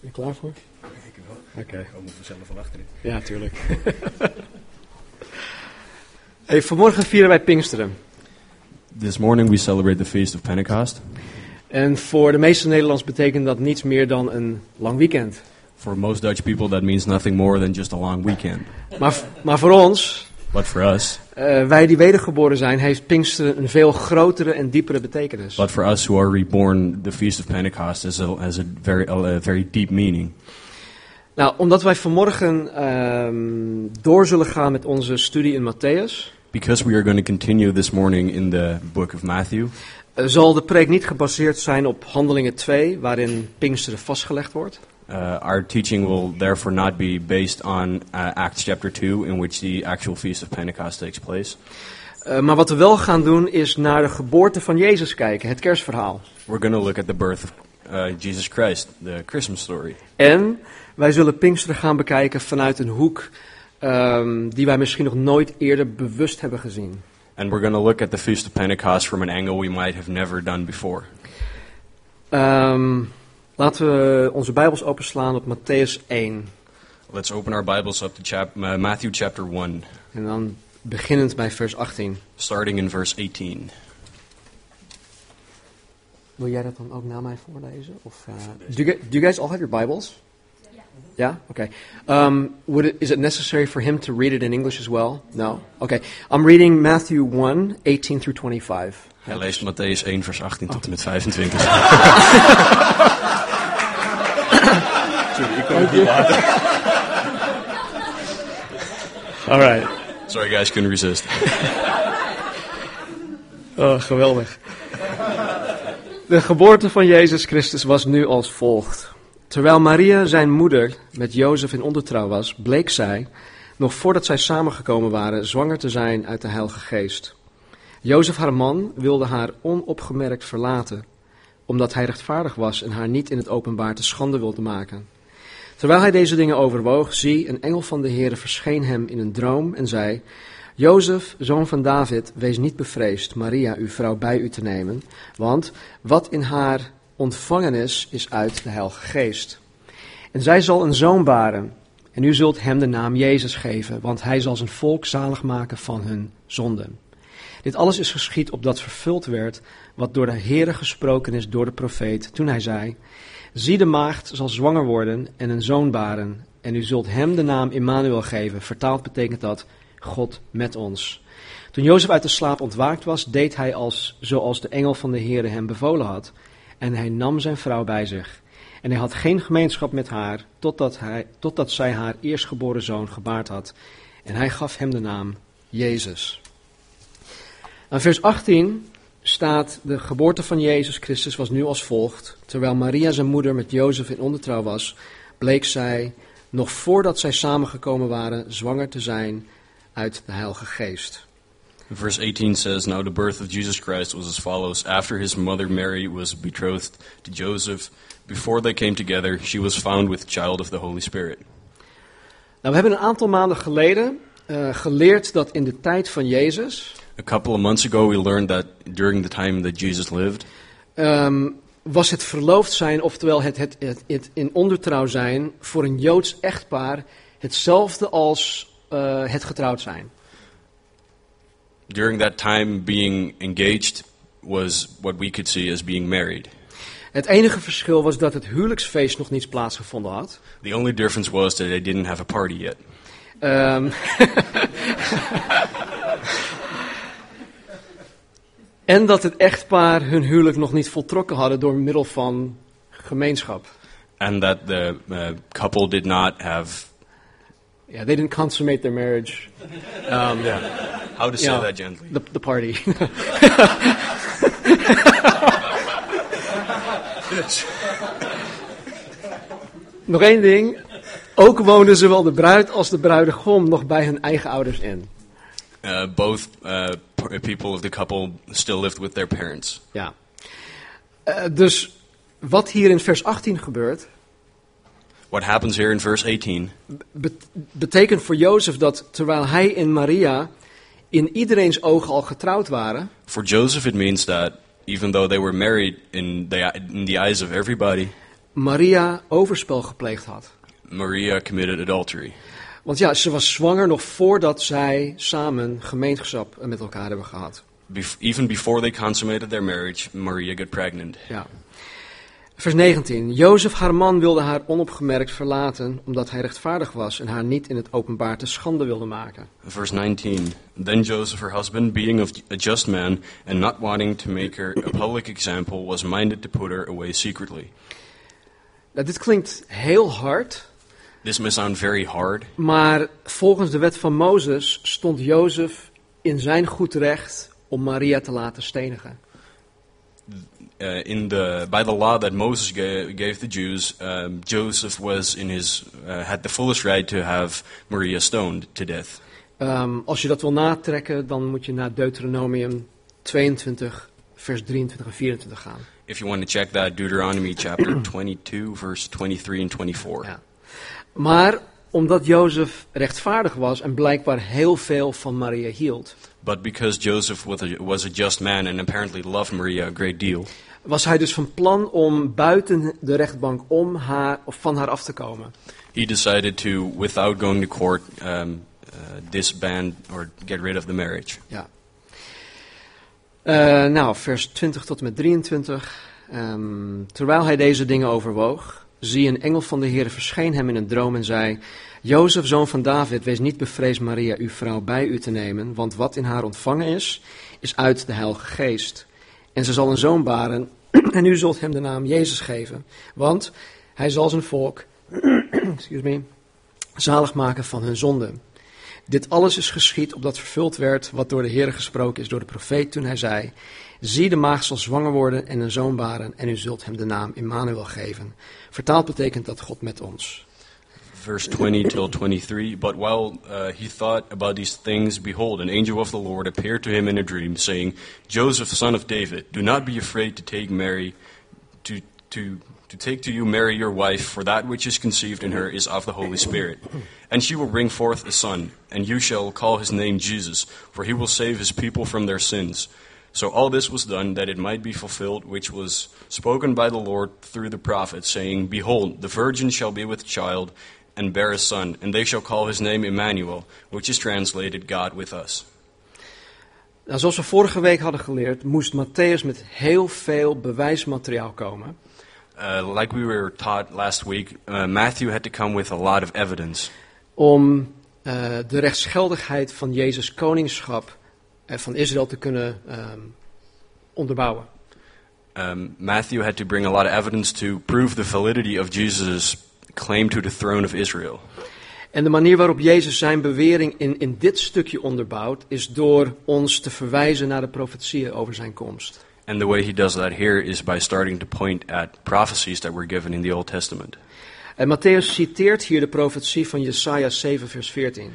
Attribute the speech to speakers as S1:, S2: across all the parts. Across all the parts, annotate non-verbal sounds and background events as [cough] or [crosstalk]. S1: je klaar voor?
S2: Ik wel.
S1: Oké.
S2: We moeten zelf wel achterin.
S1: Ja, tuurlijk. [laughs] hey, vanmorgen vieren wij Pinksteren.
S3: This morning we celebrate the Feast of Pentecost.
S1: En voor de meeste Nederlands betekent dat niets meer dan een lang weekend.
S3: For most Dutch people, that means nothing more than just a long weekend.
S1: Maar, maar voor ons,
S3: But for us,
S1: eh, wij die wedergeboren zijn, heeft Pinksteren een veel grotere en diepere betekenis.
S3: but for us who are reborn, the Feast of Pentecost has a, has a very a very deep meaning.
S1: Nou, omdat wij vanmorgen ehm, door zullen gaan met onze studie in Matthäus,
S3: Because we are going to continue this morning in the book of Matthew,
S1: eh, zal de preek niet gebaseerd zijn op Handelingen 2, waarin Pinksteren vastgelegd wordt.
S3: uh, our teaching will therefore not be based on uh, Acts chapter 2, in which the actual Feast of Pentecost takes place.
S1: Eh, maar wat we wel gaan doen is naar de geboorte van Jezus kijken, het kerstverhaal.
S3: We're going to look at the birth of uh, Jesus Christ, the Christmas story.
S1: En wij zullen Pinksteren gaan bekijken vanuit een hoek ehm, die wij misschien nog nooit eerder bewust hebben gezien.
S3: And we're going to look at the Feast of Pentecost from an angle we might have never done before.
S1: Ehm, laten we onze Bijbels openslaan op Matthäus 1.
S3: Let's open our Bibles up to chap- uh, Matthew chapter 1,
S1: En dan beginnend bij vers 18.
S3: starting in verse 18.
S1: Wil jij dat dan ook na mij voorlezen? Of, eh, do, you, gu- do you guys all have your Bibles? Yeah? Okay. Um, would it, is it necessary for him to read it in English as well? No? Okay. I'm reading Matthew 1, 18 through 25.
S3: Hij leest Matthäus 1, vers 18 tot en met 25. Sorry, ik kon het niet laten.
S1: All right.
S3: Sorry guys, couldn't resist.
S1: Oh, geweldig. De geboorte van Jezus Christus was nu als volgt. Terwijl Maria, zijn moeder, met Jozef in ondertrouw was, bleek zij, nog voordat zij samengekomen waren, zwanger te zijn uit de Heilige Geest. Jozef, haar man, wilde haar onopgemerkt verlaten, omdat hij rechtvaardig was en haar niet in het openbaar te schande wilde maken. Terwijl hij deze dingen overwoog, zie, een engel van de Heere verscheen hem in een droom en zei: Jozef, zoon van David, wees niet bevreesd Maria, uw vrouw, bij u te nemen, want wat in haar ontvangen is, is uit de Heilige Geest. En zij zal een zoon baren, en u zult hem de naam Jezus geven, want hij zal zijn volk zalig maken van hun zonden. Dit alles is geschied opdat vervuld werd wat door de Heere gesproken is door de profeet, toen hij zei, Zie de maagd zal zwanger worden en een zoon baren, en u zult hem de naam Immanuel geven. Vertaald betekent dat God met ons. Toen Jozef uit de slaap ontwaakt was, deed hij als, zoals de engel van de Heere hem bevolen had. En hij nam zijn vrouw bij zich. En hij had geen gemeenschap met haar, totdat, hij, totdat zij haar eerstgeboren zoon gebaard had. En hij gaf hem de naam Jezus. Aan Nou, vers 18 staat, de geboorte van Jezus Christus was nu als volgt. Terwijl Maria zijn moeder met Jozef in ondertrouw was, bleek zij, nog voordat zij samengekomen waren, zwanger te zijn uit de Heilige Geest.
S3: Verse 18 says, Now the birth of Jesus Christ was as follows. After his mother Mary was betrothed to Joseph, before they came together, she was found with child of the Holy Spirit.
S1: Nou, we hebben een aantal maanden geleden eh, geleerd dat in de tijd van Jezus
S3: A couple of months ago, we learned that during the time that Jesus lived,
S1: ehm, was het verloofd zijn, oftewel het, het, het, het in ondertrouw zijn, voor een Joods echtpaar hetzelfde als eh, het getrouwd zijn.
S3: during that time, being engaged was what we could see as being married.
S1: Het enige verschil was dat het huwelijksfeest nog niet plaatsgevonden had.
S3: The only difference was that they didn't have a party yet.
S1: Ehm. [laughs] en dat het echtpaar hun huwelijk nog niet voltrokken hadden door middel van gemeenschap.
S3: And that the uh, couple did not have.
S1: Yeah, they didn't consummate their marriage.
S3: How to say
S1: Yeah.
S3: that gently?
S1: The, the party. [laughs] nog één ding. Ook woonden zowel de bruid als de bruidegom nog bij hun eigen ouders in.
S3: Uh, both uh, p- people of the couple still lived with their parents.
S1: Ja. Eh, dus wat hier in vers 18 gebeurt,
S3: What happens here in verse 18
S1: bet- betekent voor Jozef dat terwijl hij en Maria in iederreens ogen al getrouwd waren,
S3: for Joseph, it means that even though they were married in the, in the eyes of everybody,
S1: Maria overspel gepleegd had.
S3: Maria committed adultery.
S1: Want ja, ze was zwanger nog voordat zij samen gemeenschap met elkaar hebben gehad.
S3: Bef- even before they consummated their marriage, Maria got pregnant.
S1: Ja. Vers 19. Jozef, haar man, wilde haar onopgemerkt verlaten omdat hij rechtvaardig was en haar niet in het openbaar te schande wilde maken.
S3: Verse 19 Then Joseph, her husband, being of a just man, and not wanting to make her a public example, was minded to put her away secretly.
S1: Nou, dit klinkt heel hard,
S3: This may sound very hard,
S1: maar volgens de wet van Mozes stond Jozef in zijn goed recht om Maria te laten stenigen.
S3: uh, in the by the law that Moses gave, gave the Jews, um, Joseph was in his uh, had the fullest right to have Maria stoned to death.
S1: Ehm, als je dat wil natrekken, dan moet je naar Deuteronomium 22, vers 23 en 24 gaan.
S3: If you want to check that, Deuteronomy chapter 22, verse 23 and 24.
S1: Ja. Maar omdat Jozef rechtvaardig was en blijkbaar heel veel van Maria hield,
S3: But because Joseph was a, was a just man and apparently loved Maria a great deal,
S1: was hij dus van plan om buiten de rechtbank om haar, of van haar af te komen.
S3: he decided to, without going to court, um, uh, disband or get rid of the marriage.
S1: Ja. Eh, nou, vers 20 tot en met 23. Ehm, terwijl hij deze dingen overwoog, zie een engel van de Heer verscheen hem in een droom en zei: Jozef, zoon van David, wees niet bevreesd Maria, uw vrouw, bij u te nemen, want wat in haar ontvangen is, is uit de Heilige Geest. En ze zal een zoon baren, [clears throat] en u zult hem de naam Jezus geven, want hij zal zijn volk, [clears throat] excuse me, zalig maken van hun zonden. Dit alles is geschied opdat vervuld werd wat door de Heer gesproken is door de profeet toen hij zei: Zie, de maagd zal zwanger worden en een zoon baren, en u zult hem de naam Immanuel geven. Vertaald betekent dat God met ons.
S3: Verse 20 till 23. But while uh, he thought about these things, behold, an angel of the Lord appeared to him in a dream, saying, Joseph, son of David, do not be afraid to take Mary, to, to, to take to you Mary your wife, for that which is conceived in her is of the Holy Spirit. And she will bring forth a son, and you shall call his name Jesus, for he will save his people from their sins. So all this was done that it might be fulfilled which was spoken by the Lord through the prophet, saying, Behold, the virgin shall be with child and bear a son, and they shall call his name Emmanuel, which is translated God with us.
S1: Nou, zoals we vorige week hadden geleerd, moest Matthäus met heel veel bewijsmateriaal komen.
S3: Uh, like we were taught last week, uh, Matthew had to come with a lot of evidence
S1: om eh, de rechtsgeldigheid van Jezus' koningschap eh, van Israël te kunnen ehm, onderbouwen.
S3: um, Matthew had to bring a lot of evidence to prove the validity of Jesus' claim to the throne of Israel.
S1: En de manier waarop Jezus zijn bewering in, in dit stukje onderbouwt, is door ons te verwijzen naar de profetieën over zijn komst.
S3: And the way he does that here is by starting to point at prophecies that were given in the Old Testament.
S1: En Matthäus citeert hier de profetie van Jesaja 7, vers 14.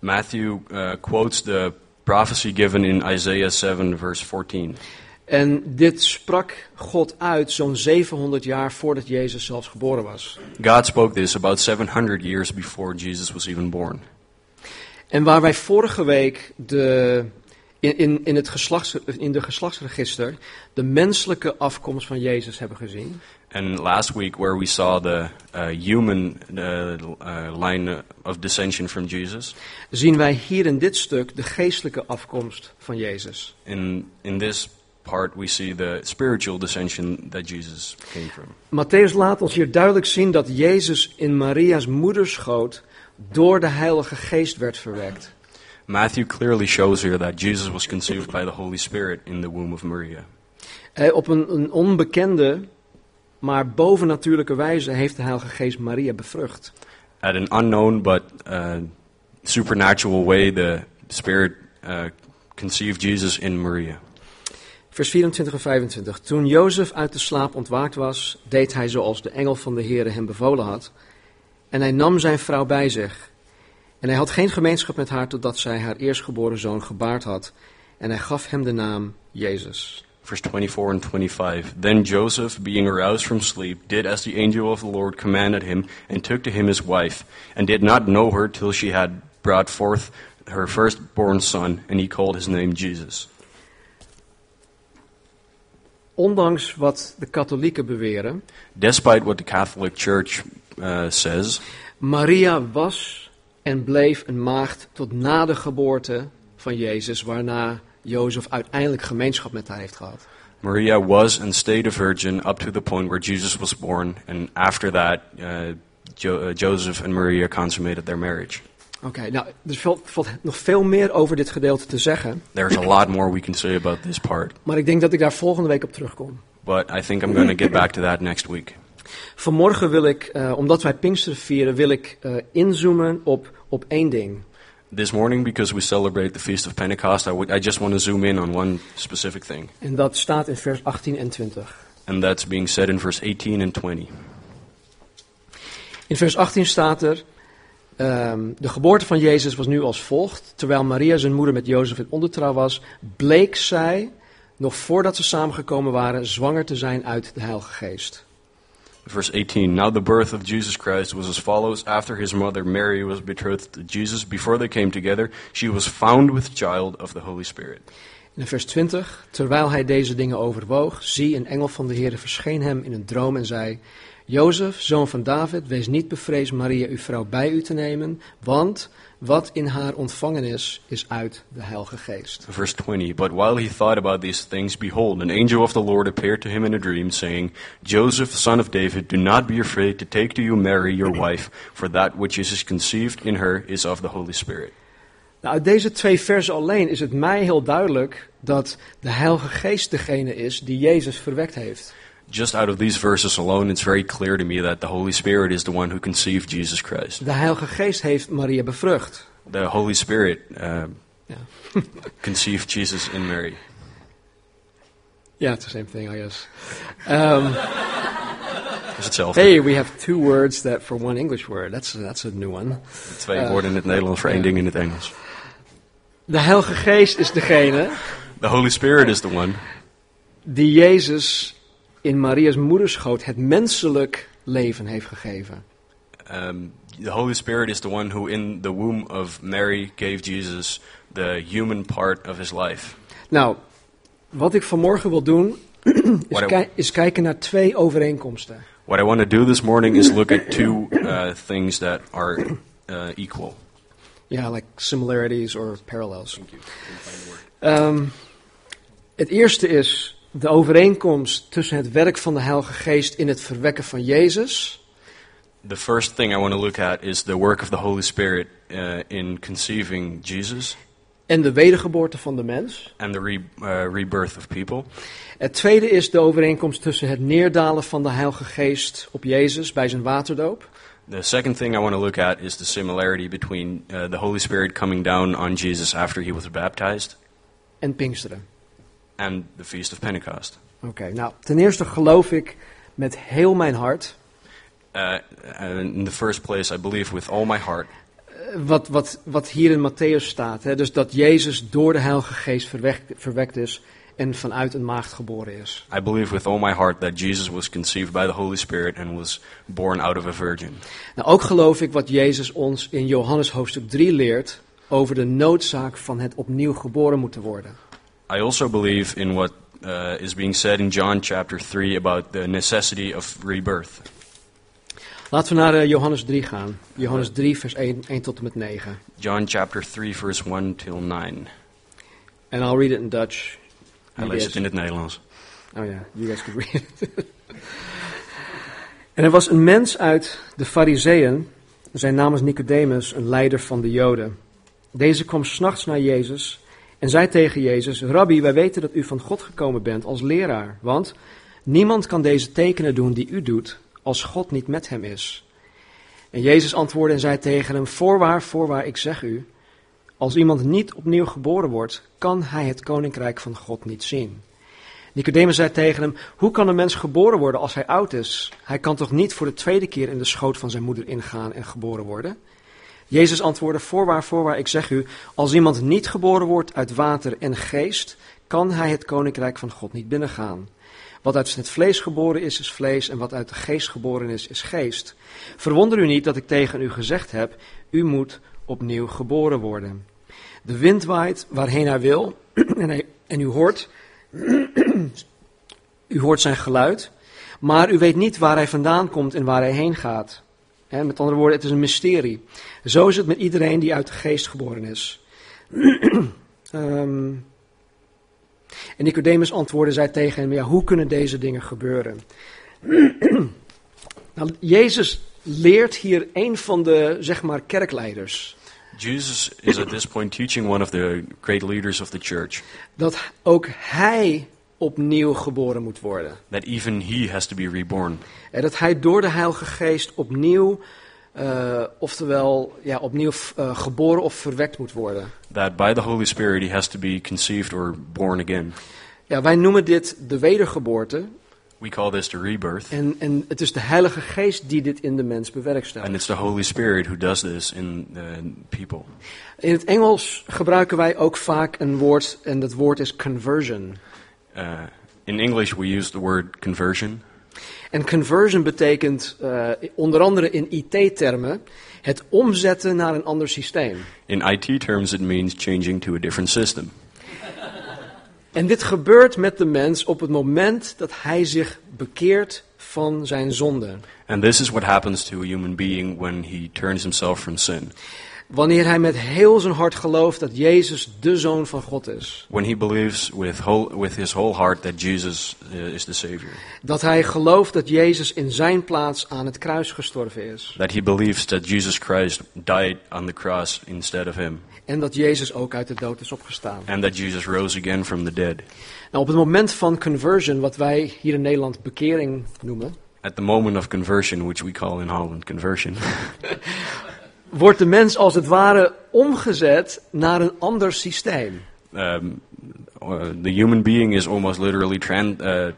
S3: Matthew uh, quotes the prophecy given in Isaiah 7, verse 14.
S1: En dit sprak God uit zo'n 700 jaar voordat Jezus zelfs geboren was.
S3: God spoke this about 700 years before Jesus was even born.
S1: En waar wij vorige week de, in, in, in, het geslachts, in de geslachtsregister de menselijke afkomst van Jezus hebben gezien,
S3: And last week, where we saw the uh, human uh, uh, line of dissension from Jesus,
S1: zien wij hier in dit stuk de geestelijke afkomst van Jezus.
S3: in, in this part, we see the spiritual dissension that Jesus came from.
S1: Matthäus laat ons hier duidelijk zien dat Jezus in Maria's moederschoot door de Heilige Geest werd verwekt.
S3: Matthew clearly shows here that Jesus was conceived by the Holy Spirit in the womb of Maria.
S1: Eh, op een, een onbekende, maar bovennatuurlijke wijze heeft de Heilige Geest Maria bevrucht.
S3: At an unknown but uh, supernatural way, the Spirit uh, conceived Jesus in Maria.
S1: Vers 24 en 25. Toen Jozef uit de slaap ontwaakt was, deed hij zoals de engel van de Heere hem bevolen had. En hij nam zijn vrouw bij zich. En hij had geen gemeenschap met haar totdat zij haar eerstgeboren zoon gebaard had. En hij gaf hem de naam Jezus.
S3: Verse 24 and 25. Then Joseph, being aroused from sleep, did as the angel of the Lord commanded him, and took to him his wife, and did not know her till she had brought forth her firstborn son, and he called his name Jesus.
S1: ondanks wat de katholieken beweren,
S3: Despite what the Catholic Church uh, says,
S1: Maria was en bleef een maagd tot na de geboorte van Jezus, waarna Jozef uiteindelijk gemeenschap met haar heeft gehad.
S3: Maria was and stayed a virgin up to the point where Jesus was born, and after that, uh, jo- uh, Joseph and Maria consummated their marriage.
S1: Oké, nou, er valt, valt nog veel meer over dit gedeelte te zeggen,
S3: There's a lot more we can say about this part,
S1: maar ik denk dat ik daar volgende week op terugkom.
S3: but I think I'm going to get back to that next week.
S1: Vanmorgen wil ik, eh, omdat wij Pinksteren vieren, wil ik eh, inzoomen op, op één ding.
S3: This morning, because we celebrate the Feast of Pentecost, I would- I just want to zoom in on one specific thing,
S1: En dat staat in vers 18 en 20.
S3: and that's being said in verse 18 and 20.
S1: In vers 18 staat er: ehm, De geboorte van Jezus was nu als volgt. Terwijl Maria zijn moeder met Jozef in ondertrouw was, bleek zij, nog voordat ze samengekomen waren, zwanger te zijn uit de Heilige Geest.
S3: Verse 18 Now the birth of Jesus Christ was as follows. After his mother Mary was betrothed to Jesus, before they came together, she was found with child of the Holy Spirit.
S1: In vers 20: Terwijl hij deze dingen overwoog, zie een engel van de Heer verscheen hem in een droom en zei: Jozef, zoon van David, wees niet bevreesd Maria, uw vrouw, bij u te nemen, want wat in haar ontvangen is, is uit de Heilige Geest.
S3: Verse 20 But while he thought about these things, behold, an angel of the Lord appeared to him in a dream, saying, Joseph, son of David, do not be afraid to take to you Mary, your wife, for that which is conceived in her is of the Holy Spirit.
S1: Nou, uit deze twee versen alleen is het mij heel duidelijk dat de Heilige Geest degene is die Jezus verwekt heeft.
S3: Just out of these verses alone, it's very clear to me that the Holy Spirit is the one who conceived Jesus Christ.
S1: De Heilige Geest heeft Maria bevrucht.
S3: The Holy Spirit uh,
S1: Ja.
S3: conceived Jesus in Mary.
S1: Ja, it's the same thing, I guess. Um,
S3: Dat is hetzelfde.
S1: hey, we have two words that for one English word. That's, that's a new one.
S3: Twee
S1: eh,
S3: woorden in het Nederlands voor één
S1: ja.
S3: ding in het Engels.
S1: De Heilige Geest is degene
S3: The Holy Spirit is the one
S1: die Jezus in Maria's moederschoot het menselijk leven heeft gegeven.
S3: Um, the Holy Spirit is the one who, in the womb of Mary, gave Jesus the human part of his life.
S1: Nou, wat ik vanmorgen wil doen, [clears throat] is,
S3: What I-
S1: ki- is kijken naar twee overeenkomsten.
S3: What I want to do this morning is look at two uh, things that are uh, equal.
S1: Ja, like similarities or parallels.
S3: Thank you.
S1: Ehm, het eerste is de overeenkomst tussen het werk van de Heilige Geest in het verwekken van Jezus
S3: The first thing I want to look at is the work of the Holy Spirit uh, in conceiving Jesus
S1: en de wedergeboorte van de mens.
S3: and the re- uh, rebirth of people.
S1: Het tweede is de overeenkomst tussen het neerdalen van de Heilige Geest op Jezus bij zijn waterdoop.
S3: The second thing I want to look at is the similarity between uh, the Holy Spirit coming down on Jesus after he was baptized
S1: En Pinksteren.
S3: and the Feast of Pentecost.
S1: Oké, nou, ten eerste geloof ik met heel mijn hart.
S3: uh, in the first place, I believe with all my heart,
S1: eh, Wat, wat, wat hier in Matthäus staat. Hè? Dus dat Jezus door de Heilige Geest verwekt, verwekt is en vanuit een maagd geboren is.
S3: I believe with all my heart that Jesus was conceived by the Holy Spirit and was born out of a virgin.
S1: Nou, ook geloof ik wat Jezus ons in Johannes hoofdstuk 3 leert over de noodzaak van het opnieuw geboren moeten worden.
S3: I also believe in what uh, is being said in John chapter 3 about the necessity of rebirth.
S1: Laten we naar eh, Johannes 3 gaan. Johannes 3, vers 1, 1 tot en met 9.
S3: John chapter 3, verse 1 till 9.
S1: And I'll read it in Dutch.
S3: Hij
S1: Jullie
S3: leest het in het Nederlands.
S1: Oh ja, you guys could read it. [laughs] en er was een mens uit de Fariseeën. Zijn naam is Nicodemus, een leider van de Joden. Deze kwam s'nachts naar Jezus en zei tegen Jezus: Rabbi, wij weten dat u van God gekomen bent als leraar. Want niemand kan deze tekenen doen die u doet, als God niet met hem is. En Jezus antwoordde en zei tegen hem: Voorwaar, voorwaar, ik zeg u. Als iemand niet opnieuw geboren wordt, kan hij het koninkrijk van God niet zien. Nicodemus zei tegen hem: Hoe kan een mens geboren worden als hij oud is? Hij kan toch niet voor de tweede keer in de schoot van zijn moeder ingaan en geboren worden? Jezus antwoordde: Voorwaar, voorwaar, ik zeg u: Als iemand niet geboren wordt uit water en geest, kan hij het koninkrijk van God niet binnengaan. Wat uit het vlees geboren is, is vlees, en wat uit de geest geboren is, is geest. Verwonder u niet dat ik tegen u gezegd heb: U moet opnieuw geboren worden. De [clears throat] wind waait waarheen hij wil, en, hij, en u hoort U hoort zijn geluid, maar u weet niet waar hij vandaan komt en waar hij heen gaat. Hè, met andere woorden, het is een mysterie. Zo is het met iedereen die uit de geest geboren is. [clears throat] Ehm, en Nicodemus antwoordde zij tegen hem, ja, hoe kunnen deze dingen gebeuren? [clears throat] nou, Jezus leert hier een van de, zeg maar, kerkleiders.
S3: Jesus is at this point teaching one of the great leaders of the church
S1: Dat ook hij opnieuw geboren moet worden.
S3: that even he has to be reborn,
S1: En dat hij door de Heilige Geest opnieuw, eh, oftewel ja, opnieuw eh, geboren of verwekt moet worden.
S3: that by the Holy Spirit he has to be conceived or born again.
S1: Ja, wij noemen dit de wedergeboorte.
S3: We call this the rebirth,
S1: En, en het is de Heilige Geest die dit in de mens bewerkstelligt.
S3: and it's the Holy Spirit who does this in the people.
S1: In het Engels gebruiken wij ook vaak een woord, en dat woord is conversion.
S3: Uh, in English, we use the word conversion,
S1: En conversion betekent eh, onder andere in IT-termen het omzetten naar een ander systeem.
S3: In IT terms, it means changing to a different system.
S1: En dit gebeurt met de mens op het moment dat hij zich bekeert van zijn zonde.
S3: And this is what happens to a human being when he turns himself from sin.
S1: Wanneer hij met heel zijn hart gelooft dat Jezus de Zoon van God is.
S3: When he believes with, whole, with his whole heart that Jesus uh, is the Savior,
S1: Dat hij gelooft dat Jezus in zijn plaats aan het kruis gestorven is.
S3: that he believes that Jesus Christ died on the cross instead of him,
S1: En dat Jezus ook uit de dood is opgestaan.
S3: and that Jesus rose again from the dead.
S1: Nou, op het moment van conversion, wat wij hier in Nederland bekering noemen.
S3: At the moment of conversion, which we call in Holland conversion, [laughs]
S1: Wordt de mens als het ware omgezet naar een ander systeem.
S3: um, uh, the human being is almost literally tran- uh,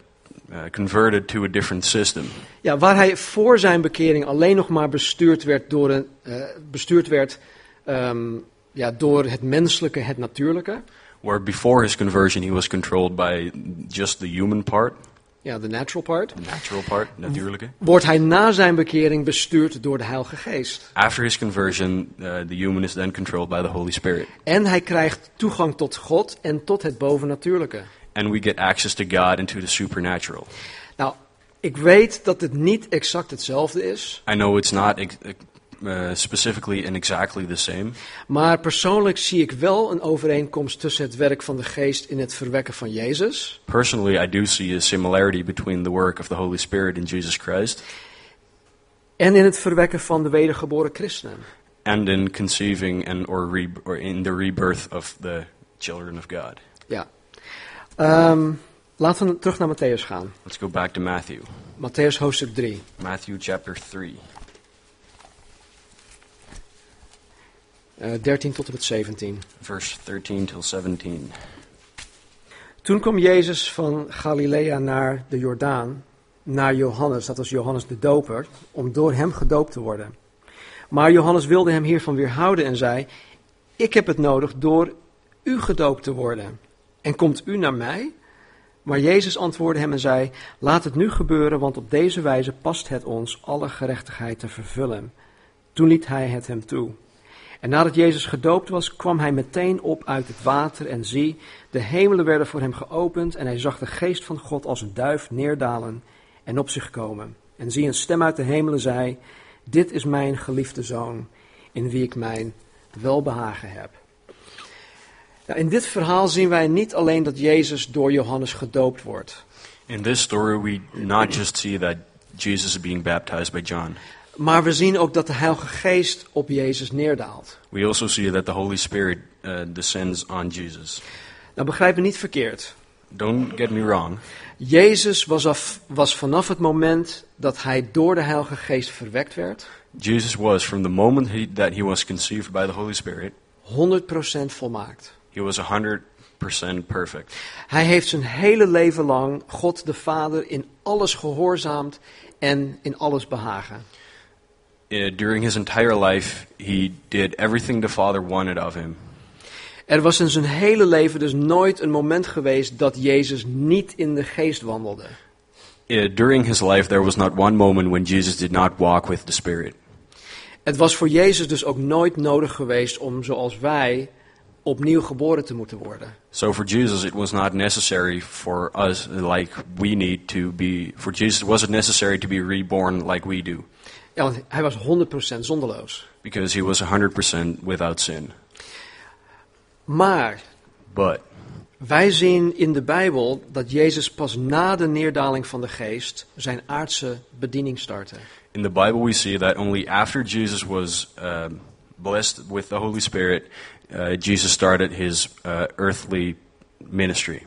S3: uh, converted to a different system.
S1: Ja, waar hij voor zijn bekering alleen nog maar bestuurd werd door, een, eh, bestuurd werd, ehm, ja, door het menselijke, het natuurlijke.
S3: Where before his conversion, he was controlled by just the human part,
S1: Ja, de natural part.
S3: the natural part, natuurlijke.
S1: wordt hij na zijn bekering bestuurd door de Heilige Geest.
S3: After his conversion, uh, the human is then controlled by the Holy Spirit.
S1: En hij krijgt toegang tot God en tot het bovennatuurlijke.
S3: And we get access to God and to the supernatural.
S1: Nou, ik weet dat het niet exact hetzelfde is,
S3: I know it's not ex- uh, specifically and exactly the same,
S1: maar persoonlijk zie ik wel een overeenkomst tussen het werk van de Geest in het verwekken van Jezus
S3: Personally, I do see a similarity between the work of the Holy Spirit in Jesus Christ
S1: en in het verwekken van de wedergeboren christenen.
S3: and in conceiving and or, re- or in the rebirth of the children of God.
S1: Ja. Ehm, laten we terug naar Matthäus gaan.
S3: Let's go back to Matthew.
S1: Matthäus hoofdstuk 3.
S3: Matthew chapter 3,
S1: eh, 13 tot en met 17.
S3: verse 13 till 17.
S1: Toen kwam Jezus van Galilea naar de Jordaan, naar Johannes, dat was Johannes de Doper, om door hem gedoopt te worden. Maar Johannes wilde hem hiervan weerhouden en zei: Ik heb het nodig door u gedoopt te worden. En komt u naar mij? Maar Jezus antwoordde hem en zei: Laat het nu gebeuren, want op deze wijze past het ons alle gerechtigheid te vervullen. Toen liet hij het hem toe. En nadat Jezus gedoopt was, kwam hij meteen op uit het water en zie, de hemelen werden voor hem geopend en hij zag de geest van God als een duif neerdalen en op zich komen. En zie, een stem uit de hemelen zei, dit is mijn geliefde zoon, in wie ik mijn welbehagen heb. Nou, in dit verhaal zien wij niet alleen dat Jezus door Johannes gedoopt wordt,
S3: In this story, we not just see that Jesus is being baptized by John,
S1: maar we zien ook dat de Heilige Geest op Jezus neerdaalt.
S3: we also see that the Holy Spirit uh, descends on Jesus.
S1: Nou, begrijp me niet verkeerd.
S3: Don't get me wrong.
S1: Jezus was, af, was vanaf het moment dat hij door de Heilige Geest verwekt werd,
S3: Jesus was, from the moment he, that he was conceived by the Holy Spirit,
S1: 100% volmaakt.
S3: He was 100% perfect.
S1: Hij heeft zijn hele leven lang God de Vader in alles gehoorzaamd en in alles behagen.
S3: Uh, during his entire life, he did everything the Father wanted of him.
S1: Er was in zijn hele leven dus nooit een moment geweest dat Jezus niet in de geest wandelde.
S3: Uh, during his life, there was not one moment when Jesus did not walk with the Spirit.
S1: Het was voor Jezus dus ook nooit nodig geweest om, zoals wij, opnieuw geboren te moeten worden.
S3: So for Jesus, it was not necessary for us, like we need to be. For Jesus, it wasn't necessary to be reborn like we do,
S1: Ja, want hij was 100% zonderloos.
S3: because he was 100% without sin.
S1: Maar
S3: But
S1: wij zien in de Bijbel dat Jezus pas na de neerdaling van de geest zijn aardse bediening startte.
S3: in the Bible, we see that only after Jesus was um, blessed with the Holy Spirit, uh, Jesus started his uh, earthly ministry.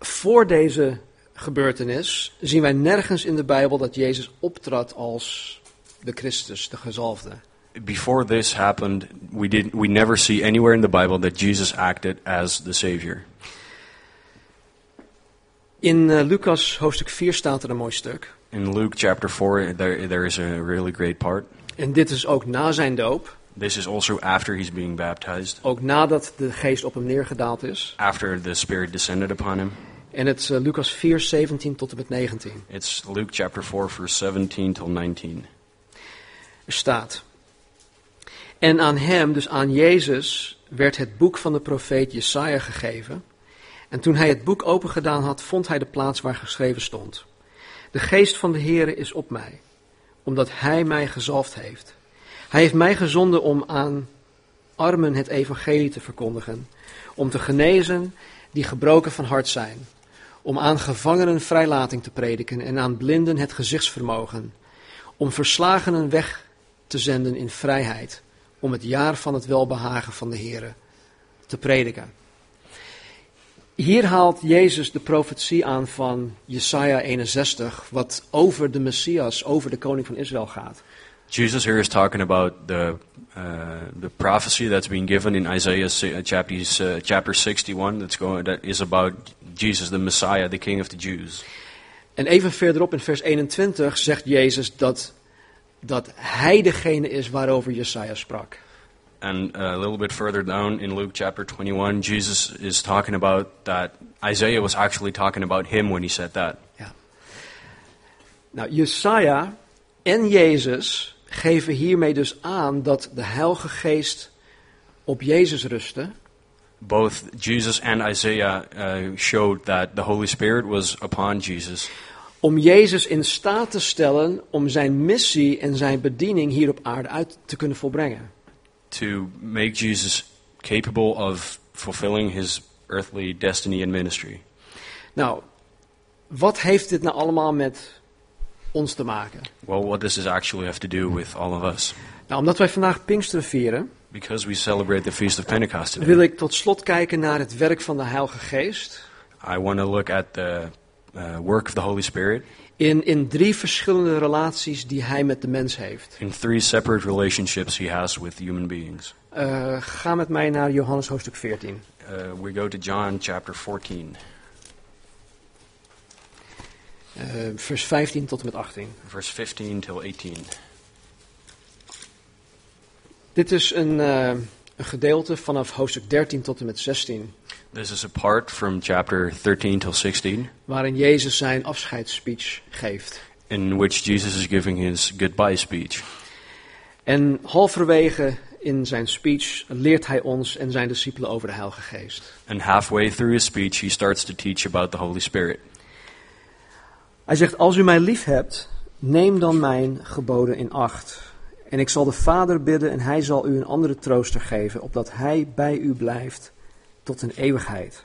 S1: Voor deze gebeurtenis zien wij nergens in de Bijbel dat Jezus optrad als de Christus, de gezalfde.
S3: Before this happened, we didn't. We never see anywhere in the Bible that Jesus acted as the Savior.
S1: In eh, Lucas hoofdstuk 4 staat er een mooi stuk.
S3: In Luke chapter four, there there is a really great part.
S1: En dit is ook na zijn doop,
S3: This is also after he's being baptized,
S1: ook nadat de geest op hem neergedaald is.
S3: after the Spirit descended upon him.
S1: En het is eh, Lucas 4, 17 tot en met 19.
S3: It's Luke chapter 4, verse 17 till 19.
S1: Er staat. En aan hem, dus aan Jezus, werd het boek van de profeet Jesaja gegeven. En toen hij het boek opengedaan had, vond hij de plaats waar geschreven stond. De geest van de Heere is op mij, omdat hij mij gezalfd heeft. Hij heeft mij gezonden om aan armen het evangelie te verkondigen, om te genezen die gebroken van hart zijn, om aan gevangenen vrijlating te prediken en aan blinden het gezichtsvermogen, om verslagenen weg te zenden in vrijheid, om het jaar van het welbehagen van de Heere te prediken. Hier haalt Jezus de profetie aan van Jesaja 61, wat over de Messias, over de koning van Israël gaat.
S3: Jesus here is talking about the uh, the prophecy that's being given in Isaiah si- uh, chapter uh, chapter 61. That's going that is about Jesus, the Messiah, the King of the Jews.
S1: En even verderop in vers 21 zegt Jezus dat, dat hij degene is waarover Jesaja sprak.
S3: And uh, a little bit further down in Luke chapter 21, Jesus is talking about that Isaiah was actually talking about him when he said that.
S1: Nou, Jesaja en Jezus geven hiermee dus aan dat de Heilige Geest op Jezus rustte.
S3: both Jesus and Isaiah uh, showed that the Holy Spirit was upon Jesus
S1: Om Jezus in staat te stellen om zijn missie en zijn bediening hier op aarde uit te kunnen volbrengen.
S3: to make Jesus capable of fulfilling his earthly destiny and ministry.
S1: Nou, wat heeft dit nou allemaal met ons te maken?
S3: Well, what does this actually have to do with all of us?
S1: Nou, omdat wij vandaag Pinksteren vieren,
S3: Because we celebrate the Feast of Pentecost today,
S1: wil ik tot slot kijken naar het werk van de Heilige Geest.
S3: I want to look at the uh, work of the Holy Spirit
S1: In, in drie verschillende relaties die hij met de mens heeft.
S3: in three separate relationships he has with human beings.
S1: Eh, ga met mij naar Johannes hoofdstuk 14.
S3: Uh, we go to John chapter 14,
S1: Eh, vers 15 tot en met 18.
S3: verse 15 till 18.
S1: Dit is een, eh, een gedeelte vanaf hoofdstuk 13 tot en met 16,
S3: This is apart from chapter 13 till 16.
S1: waarin Jezus zijn afscheidsspeech geeft.
S3: in which Jesus is giving his goodbye speech.
S1: En halverwege in zijn speech leert hij ons en zijn discipelen over de Heilige Geest.
S3: And halfway through his speech, he starts to teach about the Holy Spirit.
S1: Hij zegt, als u mij lief hebt, neem dan mijn geboden in acht. En ik zal de Vader bidden en hij zal u een andere trooster geven, opdat hij bij u blijft tot een eeuwigheid.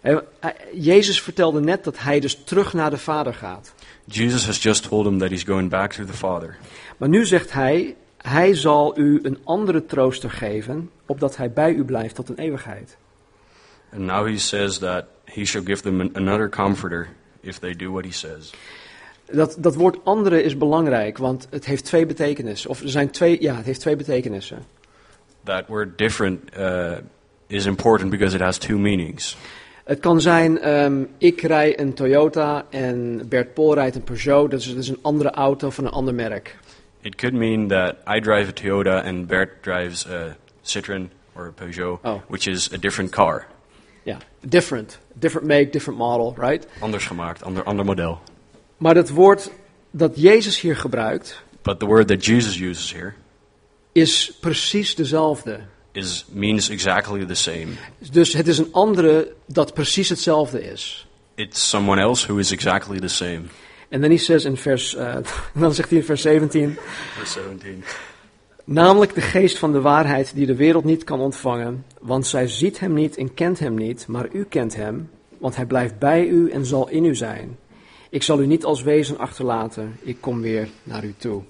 S1: En, eh, Jezus vertelde net dat hij dus terug naar de Vader gaat.
S3: Jesus has just told him that he's going back to the Father.
S1: Maar nu zegt hij, hij zal u een andere trooster geven, opdat hij bij u blijft tot een eeuwigheid.
S3: And now he says that he shall give them an, another comforter if they do what he says.
S1: Dat, dat woord andere is belangrijk, want het heeft twee betekenissen. Of er zijn twee, ja, het heeft twee betekenissen.
S3: That word different uh, is important because it has two meanings.
S1: Het kan zijn, ehm, ik rij een Toyota en Bert Pol rijdt een Peugeot. Dat is, dat is een andere auto van een ander merk.
S3: It could mean that I drive a Toyota and Bert drives a Citroen or a Peugeot,
S1: Oh.
S3: which is a different car.
S1: Ja, different. Different make, different model, right?
S3: Anders gemaakt, ander, ander model.
S1: Maar dat woord dat Jezus hier gebruikt,
S3: But the word that Jesus uses here
S1: is precies dezelfde.
S3: is, means exactly the same.
S1: Dus het is een andere dat precies hetzelfde is.
S3: It's someone else who is exactly the same.
S1: En dan he says in vers, eh, [laughs] dan zegt hij in vers 17,
S3: Verse 17.
S1: namelijk de geest van de waarheid die de wereld niet kan ontvangen, want zij ziet hem niet en kent hem niet, maar u kent hem, want hij blijft bij u en zal in u zijn. Ik zal u niet als wezen achterlaten, ik kom weer naar u toe.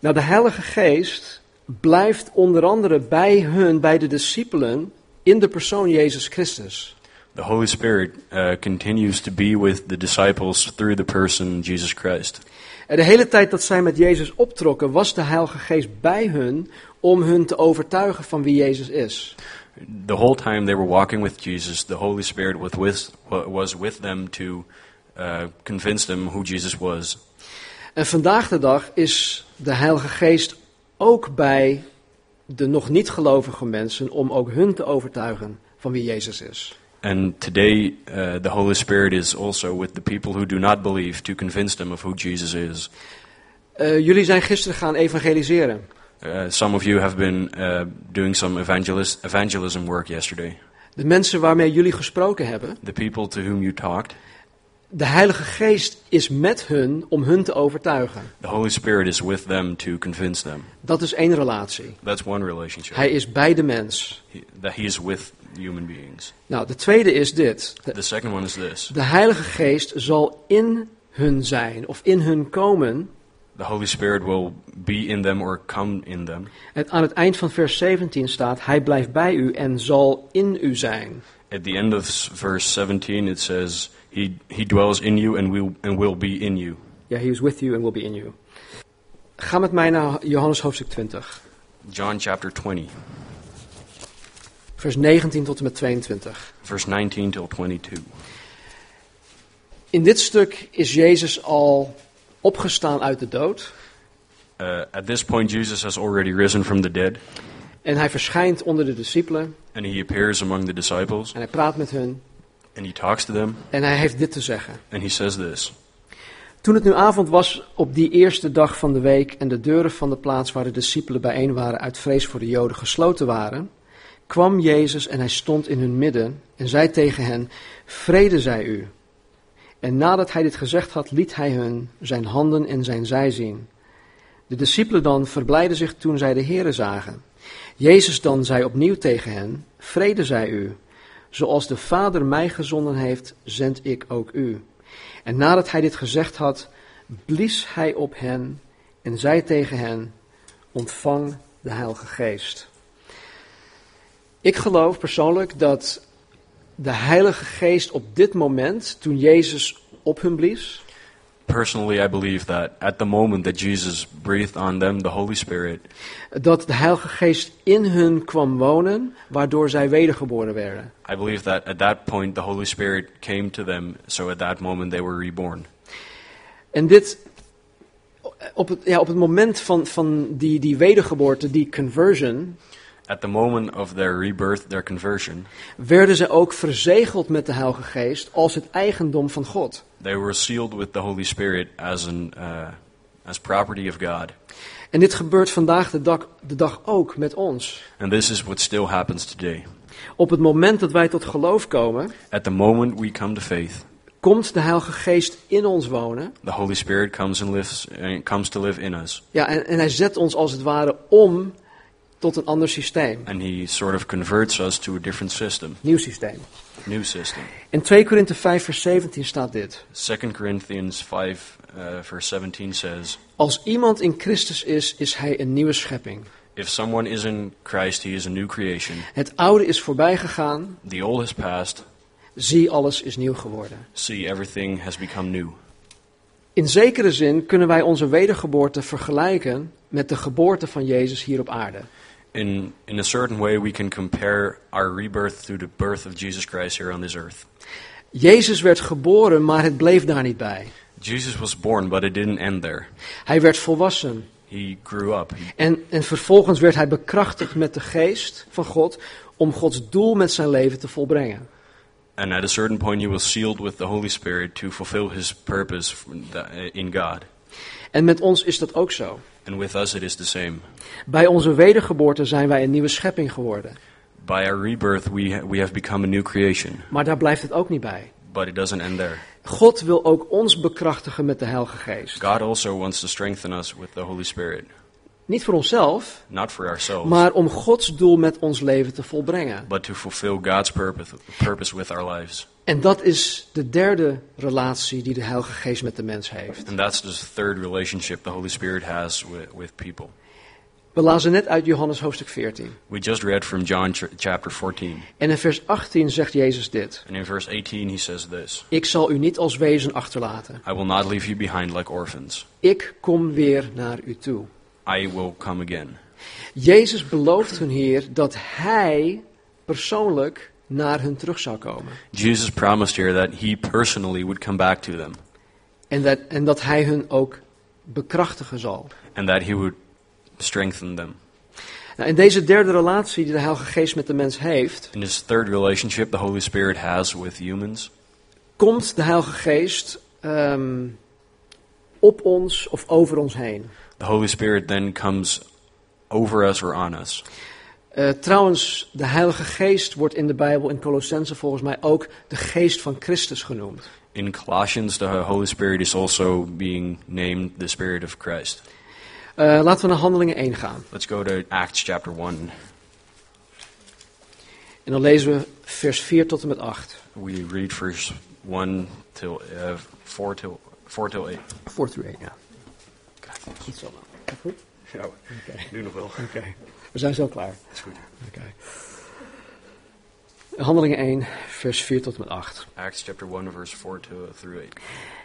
S1: Nou, de Heilige Geest blijft onder andere bij hun, bij de discipelen, in de persoon Jezus Christus.
S3: The Holy Spirit uh, continues to be with the disciples through the person Jesus Christ.
S1: En de hele tijd dat zij met Jezus optrokken, was de Heilige Geest bij hun om hun te overtuigen van wie Jezus is.
S3: The whole time they were walking with Jesus, the Holy Spirit was with, was with them to uh, convince them who Jesus was.
S1: En vandaag de dag is de Heilige Geest ook bij de nog niet gelovige mensen om ook hun te overtuigen van wie Jezus is.
S3: And today, uh, the Holy Spirit is also with the people who do not believe to convince them of who Jesus is.
S1: Eh, jullie zijn gisteren gaan evangeliseren.
S3: Uh, some of you have been uh, doing some evangelist, evangelism work yesterday.
S1: De mensen waarmee jullie gesproken hebben,
S3: The people to whom you talked,
S1: de Heilige Geest is met hun om hun te overtuigen.
S3: the Holy Spirit is with them to convince them.
S1: Dat is één relatie.
S3: That's one relationship.
S1: Hij is bij de mens.
S3: He, that He is with human beings.
S1: Nou, de tweede is dit. De-
S3: The second one is this
S1: De Heilige Geest zal in hun zijn of in hun komen.
S3: the Holy Spirit will be in them or come in them.
S1: Het, aan het eind van vers 17 staat: Hij blijft bij u en zal in u zijn.
S3: At the end of s- verse 17, it says, He, he dwells in you and will, and will be in you.
S1: Ja, he is with you and will be in you. Ga met mij naar Johannes hoofdstuk 20,
S3: John chapter 20,
S1: vers 19 tot en met 22.
S3: verse 19 till 22.
S1: In dit stuk is Jezus al opgestaan uit de dood.
S3: Uh, at this point, Jesus has already risen from the dead,
S1: En hij verschijnt onder de discipelen
S3: and he appears among the disciples,
S1: en hij praat met hun.
S3: and he talks to them,
S1: En hij heeft dit te zeggen.
S3: and he says this
S1: Toen het nu avond was op die eerste dag van de week en de deuren van de plaats waar de discipelen bijeen waren uit vrees voor de Joden gesloten waren, kwam Jezus en hij stond in hun midden en zei tegen hen, vrede zij u. En nadat hij dit gezegd had, liet hij hun zijn handen en zijn zij zien. De discipelen dan verblijden zich toen zij de Heeren zagen. Jezus dan zei opnieuw tegen hen, vrede zij u. Zoals de Vader mij gezonden heeft, zend ik ook u. En nadat hij dit gezegd had, blies hij op hen en zei tegen hen: Ontvang de Heilige Geest. Ik geloof persoonlijk dat de Heilige Geest op dit moment, toen Jezus op hun blies,
S3: Personally, I believe that at the moment that Jesus breathed on them the Holy Spirit,
S1: dat de Heilige Geest in hun kwam wonen, waardoor zij wedergeboren werden.
S3: I believe that at that point the Holy Spirit came to them, so at that moment they were reborn.
S1: En dit, op het, ja, op het moment van, van die, die wedergeboorte, die conversion,
S3: At the moment of their rebirth, their conversion,
S1: werden ze ook verzegeld met de Heilige Geest als het eigendom van God.
S3: they were sealed with the Holy Spirit as an uh, as property of God.
S1: En dit gebeurt vandaag de dag, de dag ook met ons.
S3: And this is what still happens today.
S1: Op het moment dat wij tot geloof komen,
S3: At the moment we come to faith,
S1: komt de Heilige Geest in ons wonen.
S3: the Holy Spirit comes and lives and comes to live in us,
S1: Ja, en, en hij zet ons als het ware om tot een ander systeem,
S3: and He sort of converts us to a different system,
S1: nieuw systeem.
S3: new system.
S1: In 2 Korinthe 5 vers 17 staat dit.
S3: 2 Corinthians five uh, verse seventeen says,
S1: Als iemand in Christus is, is hij een nieuwe schepping.
S3: "If someone is in Christ, he is a new creation.
S1: Het oude is voorbij gegaan,
S3: The old has passed;
S1: zie alles is nieuw geworden.
S3: see, everything has become new."
S1: In zekere zin kunnen wij onze wedergeboorte vergelijken met de geboorte van Jezus hier op aarde.
S3: In in a certain way, we can compare our rebirth to the birth of Jesus Christ here on this earth.
S1: Jezus werd geboren, maar het bleef daar niet bij.
S3: Jesus was born, but it didn't end there.
S1: Hij werd volwassen
S3: He grew up. He
S1: en, en vervolgens werd hij bekrachtigd met de geest van God om Gods doel met zijn leven te volbrengen.
S3: And at a certain point, he was sealed with the Holy Spirit to fulfill his purpose f- th- eh, in God.
S1: En En met ons is dat ook zo.
S3: and with us it is the same.
S1: Bij onze wedergeboorte zijn wij een nieuwe schepping geworden.
S3: By our rebirth, we, ha- we have become a new creation,
S1: Maar daar blijft het ook niet bij.
S3: but it doesn't end there.
S1: God wil ook ons bekrachtigen met de Heilige Geest.
S3: God also wants to strengthen us with the Holy Spirit,
S1: Niet voor onszelf,
S3: not for ourselves,
S1: maar om Gods doel met ons leven te volbrengen.
S3: but to fulfill God's purpose, purpose with our lives.
S1: En dat is de derde relatie die de Heilige Geest met de mens heeft.
S3: And that's the third relationship the Holy Spirit has with, with people.
S1: We lazen net uit Johannes hoofdstuk 14.
S3: We just read from John ch- chapter 14,
S1: En in vers 18 zegt Jezus dit.
S3: and in verse 18 he says this
S1: Ik zal u niet als wezen achterlaten.
S3: I will not leave you behind like orphans,
S1: Ik kom weer naar u toe.
S3: I will come again.
S1: Jezus belooft hun hier dat hij persoonlijk naar hun terug zou komen.
S3: Jesus promised here that he personally would come back to them,
S1: En dat, en dat hij hun ook bekrachtigen zal.
S3: and that he would strengthen them.
S1: Nou, in deze derde relatie die de Heilige Geest met de mens heeft,
S3: In this third relationship the Holy Spirit has with humans,
S1: komt de Heilige Geest ehm, op ons of over ons heen.
S3: the Holy Spirit then comes over us or on us.
S1: Eh, trouwens, de Heilige Geest wordt in de Bijbel in Colossense volgens mij ook de Geest van Christus genoemd.
S3: In Colossians, the Holy Spirit is also being named the Spirit of Christ.
S1: Eh, laten we naar Handelingen 1 gaan.
S3: Let's go to Acts chapter 1.
S1: En dan lezen we vers 4 tot en met 8.
S3: We read verse 1 till uh, 4 till 4 till 8.
S1: 4 through 8, ja. Goed zo. Goed?
S2: Ja, nu nog wel.
S1: Oké. We zijn zo klaar.
S2: Dat is goed.
S1: Oké. Handelingen 1, vers 4 tot en met 8.
S3: Acts chapter 1 verse 4 to, through 8.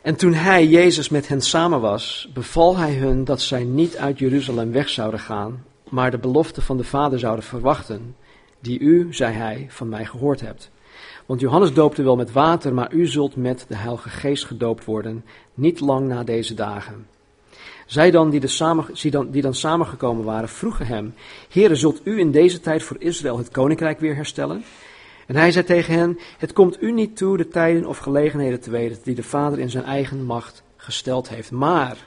S1: En toen hij, Jezus, met hen samen was, beval hij hun dat zij niet uit Jeruzalem weg zouden gaan, maar de belofte van de Vader zouden verwachten, die u, zei hij, van mij gehoord hebt. Want Johannes doopte wel met water, maar u zult met de Heilige Geest gedoopt worden, niet lang na deze dagen. Zij dan die, de samen, die, dan, die dan samengekomen waren, vroegen hem, Heere, zult u in deze tijd voor Israël het koninkrijk weer herstellen? En hij zei tegen hen: Het komt u niet toe de tijden of gelegenheden te weten die de Vader in zijn eigen macht gesteld heeft. Maar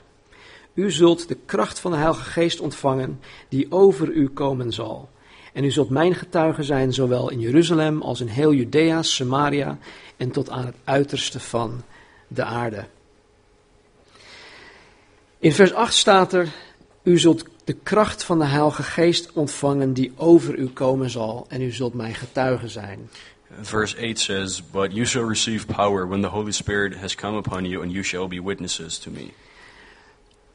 S1: u zult de kracht van de Heilige Geest ontvangen die over u komen zal. En u zult mijn getuige zijn, zowel in Jeruzalem als in heel Judea, Samaria en tot aan het uiterste van de aarde. In vers 8 staat er: U zult de kracht van de Heilige Geest ontvangen die over u komen zal, en u zult mijn getuige zijn.
S3: Verse 8 says, But you shall receive power when the Holy Spirit has come upon you, and you shall be witnesses to me.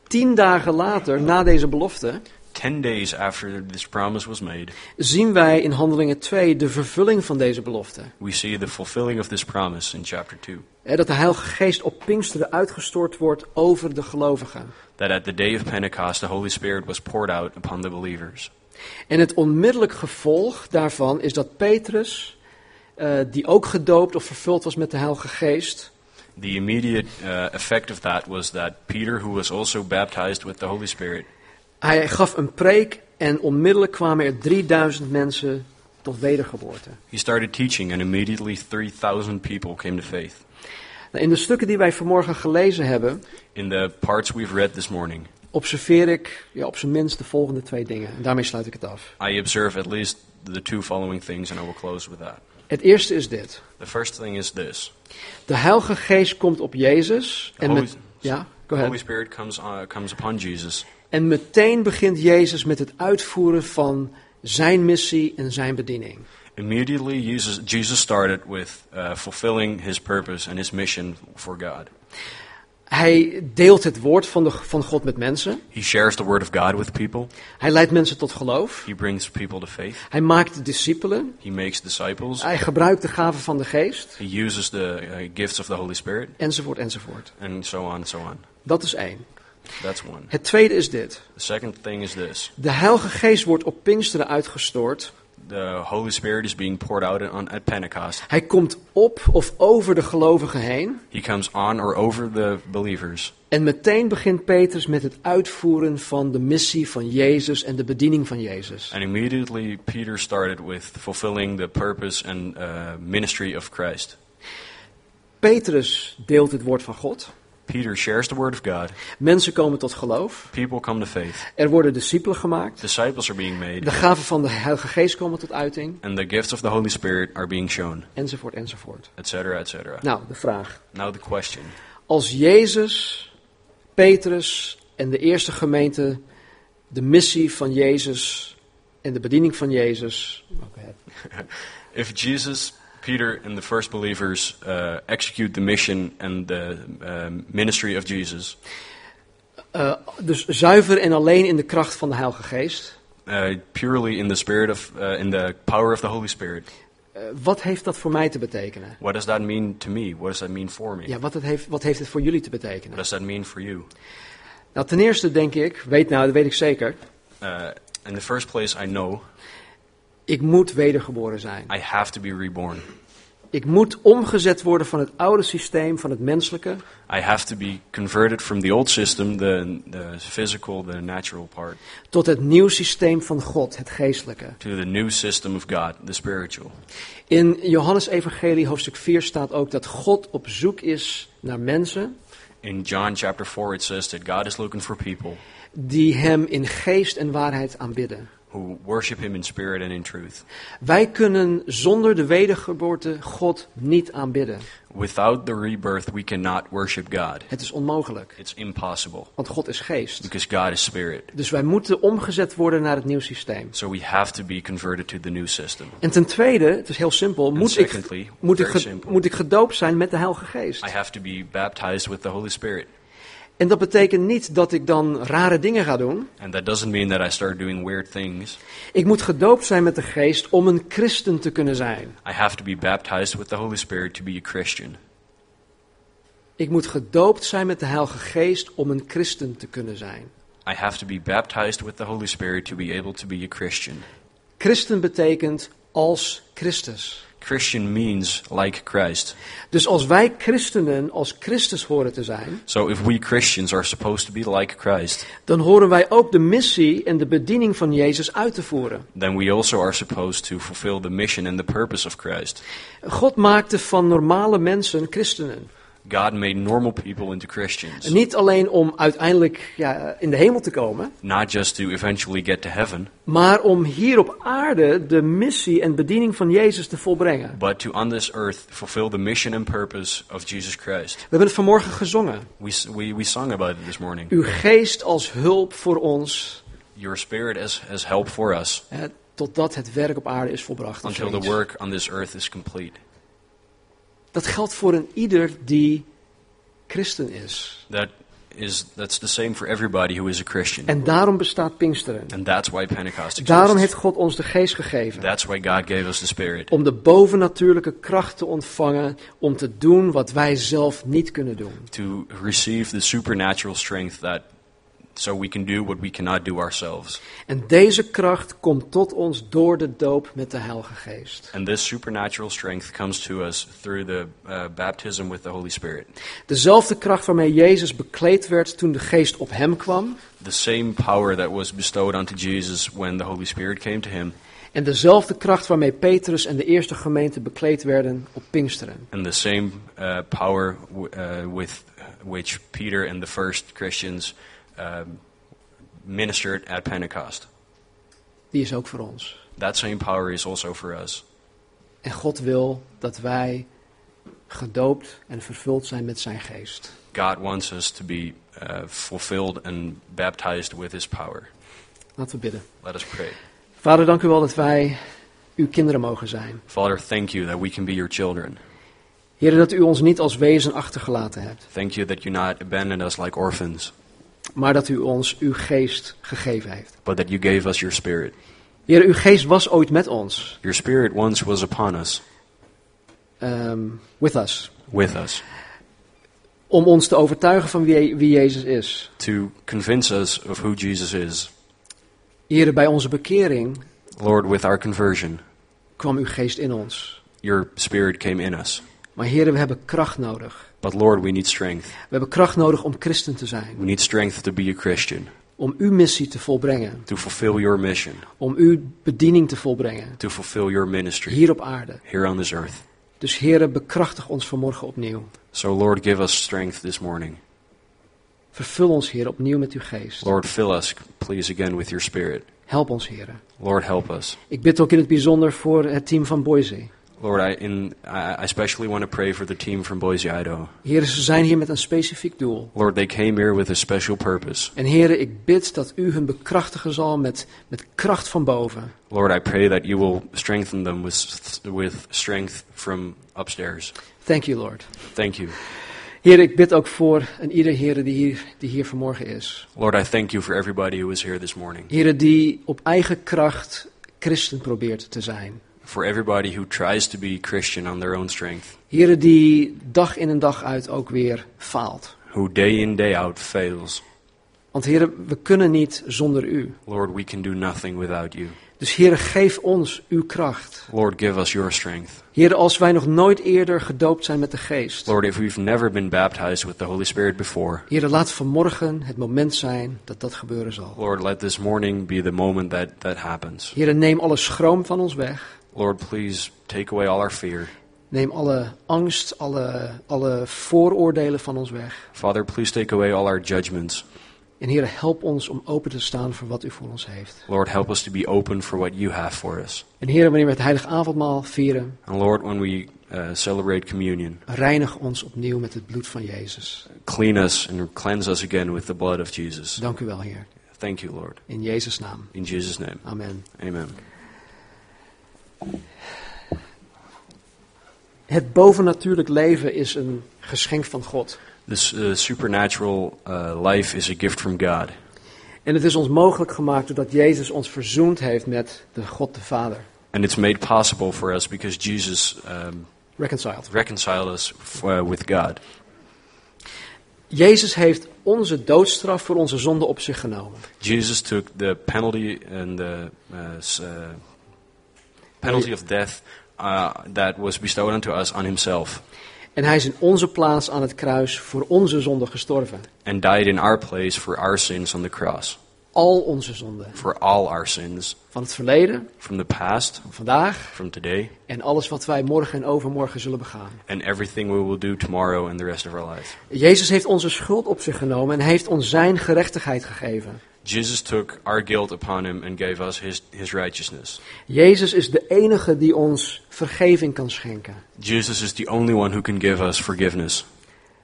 S1: Tien dagen later, na deze belofte,
S3: Ten days after this promise was made,
S1: zien wij in Handelingen 2 de vervulling van deze belofte.
S3: we see the fulfilling of this promise in chapter 2.
S1: Hè, Dat de Heilige Geest op Pinksteren uitgestort wordt over de gelovigen.
S3: That at the day of Pentecost, the Holy Spirit was poured out upon the believers.
S1: En het onmiddellijk gevolg daarvan is dat Petrus, eh, die ook gedoopt of vervuld was met de Heilige Geest,
S3: The immediate uh, effect of that was that Peter, who was also baptized with the Holy Spirit,
S1: hij gaf een preek en onmiddellijk kwamen er 3000 mensen tot wedergeboorte.
S3: he started teaching, and immediately 3,000 people came to faith.
S1: Nou, In de stukken die wij vanmorgen gelezen hebben,
S3: In the parts we've read this morning,
S1: observeer ik ja, op zijn minst de volgende twee dingen. En daarmee sluit ik het af.
S3: I observe at least the two following things, and I will close with that.
S1: Het eerste is dit.
S3: The first thing is this
S1: De Heilige Geest komt op Jezus
S3: the
S1: en,
S3: Holy,
S1: met, ja, go
S3: the Holy
S1: ahead.
S3: Spirit comes, on, comes upon Jesus,
S1: en meteen begint Jezus met het uitvoeren van zijn missie en zijn bediening.
S3: Immediately, Jesus, Jesus started with uh, fulfilling his purpose and his mission for God.
S1: Hij deelt het woord van, de, van God met mensen.
S3: He shares the word of God with people.
S1: Hij leidt mensen tot geloof.
S3: He brings people to faith.
S1: Hij maakt discipelen.
S3: He makes disciples.
S1: Hij gebruikt de gaven van de geest.
S3: He uses the uh, gifts of the Holy Spirit,
S1: Enzovoort, enzovoort.
S3: and so on and so on.
S1: Dat is één.
S3: That's one.
S1: Het tweede is dit.
S3: The second thing is this
S1: De Heilige Geest wordt op Pinksteren uitgestort.
S3: the Holy Spirit is being poured out on, at Pentecost.
S1: Hij komt op of over de gelovigen heen.
S3: He comes on or over the believers.
S1: En meteen begint Petrus met het uitvoeren van de missie van Jezus en de bediening van Jezus.
S3: And immediately, Peter started with fulfilling the purpose and uh, ministry of Christ.
S1: Petrus deelt het woord van God.
S3: Peter shares the word of God.
S1: Mensen komen tot geloof.
S3: People come to faith.
S1: Er worden discipelen gemaakt.
S3: Disciples are being made.
S1: De gaven van de Heilige Geest komen tot uiting.
S3: And the gifts of the Holy Spirit are being shown,
S1: Enzovoort, enzovoort.
S3: etc., etc.
S1: Nou, de vraag.
S3: Now the question.
S1: Als Jezus, Petrus en de eerste gemeente de missie van Jezus en de bediening van Jezus.
S3: If Jesus, Peter, and the first believers uh, execute the mission and the um, ministry of Jesus,
S1: eh, dus zuiver en alleen in de kracht van de Heilige Geest.
S3: uh, purely in the spirit of, uh, in the power of the Holy Spirit,
S1: eh, wat heeft dat voor mij te betekenen?
S3: what does that mean to me? What does that mean for me?
S1: Ja, wat, het heeft, wat heeft het voor jullie te
S3: What
S1: betekenen?
S3: does that mean for you?
S1: Nou, ten eerste denk ik, weet nou, dat weet ik zeker,
S3: Uh, in the first place, I know
S1: ik moet wedergeboren zijn.
S3: I have to be reborn.
S1: Ik moet omgezet worden van het oude systeem, van het menselijke,
S3: I have to be converted from the old system, the, the physical, the natural part,
S1: tot het nieuw systeem van God, het geestelijke.
S3: to the new system of God, the spiritual.
S1: In Johannes Evangelie hoofdstuk 4 staat ook dat God op zoek is naar mensen
S3: In John chapter 4, it says that God is looking for people
S1: die Hem in geest en waarheid aanbidden.
S3: who worship Him in spirit and in truth.
S1: Wij kunnen zonder de wedergeboorte God niet aanbidden.
S3: Without the rebirth, we cannot worship God.
S1: Het is onmogelijk,
S3: It's impossible
S1: want God is geest.
S3: because God is spirit.
S1: Dus wij moeten omgezet worden naar het nieuw systeem.
S3: So we have to be converted to the new system.
S1: En ten tweede, het is heel simpel, moet ik,
S3: secondly,
S1: moet ik,
S3: very
S1: ge-
S3: simple.
S1: moet ik gedoopt zijn met de Heilige Geest.
S3: I have to be baptized with the Holy Spirit.
S1: En dat betekent niet dat ik dan rare dingen ga doen.
S3: And that doesn't mean that I start doing weird things.
S1: Ik moet gedoopt zijn met de Geest om een christen te kunnen zijn.
S3: I have to be baptized with the Holy Spirit to be a Christian.
S1: Ik moet gedoopt zijn met de Heilige Geest om een christen te kunnen zijn.
S3: I have to be baptized with the Holy Spirit to be able to be a Christian.
S1: Christen betekent als Christus.
S3: Christian means like Christ.
S1: Dus als wij christenen als Christus horen te zijn,
S3: So if we Christians are supposed to be like Christ,
S1: dan horen wij ook de missie en de bediening van Jezus uit te voeren.
S3: then we also are supposed to fulfill the mission and the purpose of Christ.
S1: God maakte van normale mensen christenen.
S3: God made normal people into Christians,
S1: Niet alleen om uiteindelijk ja, in de hemel te komen,
S3: not just to eventually get to heaven,
S1: maar om hier op aarde de missie en bediening van Jezus te volbrengen.
S3: but to on this earth fulfill the mission and purpose of Jesus Christ.
S1: We hebben het vanmorgen gezongen.
S3: We, s- we, we sung about it this morning.
S1: Uw geest als hulp voor ons,
S3: Your spirit as, as help for us
S1: hè, totdat het werk op aarde is volbracht. of
S3: until the
S1: zoiets.
S3: work on this earth is complete.
S1: Dat geldt voor een ieder die christen is.
S3: That is that's the same for everybody who is a Christian.
S1: En daarom bestaat Pinksteren.
S3: And that's why Pentecost exists.
S1: Daarom heeft God ons de geest gegeven.
S3: That's why God gave us the Spirit.
S1: om de bovennatuurlijke kracht te ontvangen om te doen wat wij zelf niet kunnen doen.
S3: To receive the supernatural strength that so we can do what we cannot do ourselves.
S1: En deze kracht komt tot ons door de doop met de Heilige Geest.
S3: And this supernatural strength comes to us through the uh, baptism with the Holy Spirit.
S1: Dezelfde kracht waarmee Jezus bekleed werd toen de Geest op hem kwam.
S3: The same power that was bestowed onto Jesus when the Holy Spirit came to him,
S1: En dezelfde kracht waarmee Petrus en de eerste gemeente bekleed werden op Pinksteren.
S3: and the same uh, power w- uh, with which Peter and the first Christians um, ministered at Pentecost.
S1: Die is ook voor ons.
S3: That same power is also for us.
S1: En God wil dat wij gedoopt en vervuld zijn met zijn geest.
S3: God wants us to be uh, fulfilled and baptized with His power.
S1: Laten we bidden.
S3: Let us pray.
S1: Vader, dank u wel dat wij uw kinderen mogen zijn.
S3: Father, thank you that we can be your children.
S1: Heren, dat u ons niet als wezen achtergelaten hebt,
S3: Thank you that you not abandoned us like orphans,
S1: maar dat u ons uw geest gegeven heeft.
S3: but that you gave us your Spirit.
S1: Heren, uw geest was ooit met ons,
S3: Your Spirit once was upon us,
S1: ehm, with us,
S3: with us,
S1: om ons te overtuigen van wie, wie Jezus is.
S3: to convince us of who Jesus is.
S1: Heren, bij onze bekering
S3: Lord, with our conversion,
S1: kwam uw geest in ons.
S3: your Spirit came in us.
S1: Maar heren, we hebben kracht nodig.
S3: But Lord, we need strength.
S1: We hebben kracht nodig om christen te zijn,
S3: We need strength to be a Christian,
S1: om uw missie te volbrengen,
S3: to fulfill your mission,
S1: om uw bediening te volbrengen,
S3: to fulfill your ministry
S1: hier op aarde.
S3: here on this earth.
S1: Dus heren, bekrachtig ons vanmorgen opnieuw.
S3: So, Lord, give us strength this morning.
S1: Vervul ons, Heer, opnieuw met uw geest.
S3: Lord, fill us, please, again with your Spirit.
S1: Help ons, Heer.
S3: Lord, help us.
S1: Ik bid ook in het bijzonder voor het team van Boise.
S3: Lord, I, in, I I especially want to pray for the team from Boise, Idaho.
S1: Heer, ze zijn hier met een specifiek doel.
S3: Lord, they came here with a special purpose.
S1: En Heer, ik bid dat u hun bekrachtigen zal met, met kracht van boven.
S3: Lord, I pray that you will strengthen them with, with strength from upstairs.
S1: Thank you, Lord.
S3: Thank you.
S1: Heer, ik bid ook voor en ieder Heer die hier, die hier vanmorgen is.
S3: Lord, I thank you for everybody who is here this morning,
S1: Heer, die op eigen kracht christen probeert te zijn.
S3: for everybody who tries to be Christian on their own strength,
S1: Heer, die dag in en dag uit ook weer faalt.
S3: who day in, day out fails.
S1: Want Heer, we kunnen niet zonder u.
S3: Lord, we can do nothing without you.
S1: Dus Heer, geef ons uw kracht.
S3: Lord, give us your strength.
S1: Heer, als wij nog nooit eerder gedoopt zijn met de geest.
S3: Lord, if we've never been baptized with the Holy Spirit before,
S1: Heer, laat vanmorgen het moment zijn dat dat gebeuren zal.
S3: Lord, let this morning be the moment that that happens.
S1: Heer, neem alle schroom van ons weg.
S3: Lord, please take away all our fear.
S1: Neem alle angst, alle, alle vooroordelen van ons weg.
S3: Father, please take away all our judgments.
S1: En Heer, help ons om open te staan voor wat u voor ons heeft.
S3: Lord, help us to be open for what you have for us.
S1: En Heer, wanneer we het heilig avondmaal vieren,
S3: And Lord, when we uh, celebrate communion,
S1: reinig ons opnieuw met het bloed van Jezus.
S3: clean us and cleanse us again with the blood of Jesus.
S1: Dank u wel, Heer.
S3: Thank you, Lord.
S1: In Jezus' naam.
S3: In Jesus' name,
S1: Amen.
S3: amen.
S1: Het bovennatuurlijk leven is een geschenk van God.
S3: This uh, supernatural uh, life is a gift from God.
S1: En het is ons mogelijk gemaakt doordat Jezus ons verzoend heeft met de God de Vader.
S3: And it's made possible for us because Jesus um,
S1: Reconciled.
S3: reconciled us f- uh, with God.
S1: Jezus heeft onze doodstraf voor onze zonde op zich genomen.
S3: Jesus took the penalty and the uh, s- uh, penalty of death uh, that was bestowed unto us on himself
S1: En hij is in onze plaats aan het kruis voor onze zonde gestorven.
S3: and died in our place for our sins on the cross,
S1: Al onze zonden.
S3: for all our sins
S1: Van het verleden,
S3: from the past,
S1: van vandaag
S3: from today,
S1: en alles wat wij morgen en overmorgen zullen begaan.
S3: and everything we will do tomorrow and the rest of our life.
S1: Jezus heeft onze schuld op zich genomen en heeft ons zijn gerechtigheid gegeven.
S3: Jesus took our guilt upon him and gave us his, his righteousness.
S1: Jezus is de enige die ons vergeving kan schenken.
S3: Jesus is the only one who can give us forgiveness.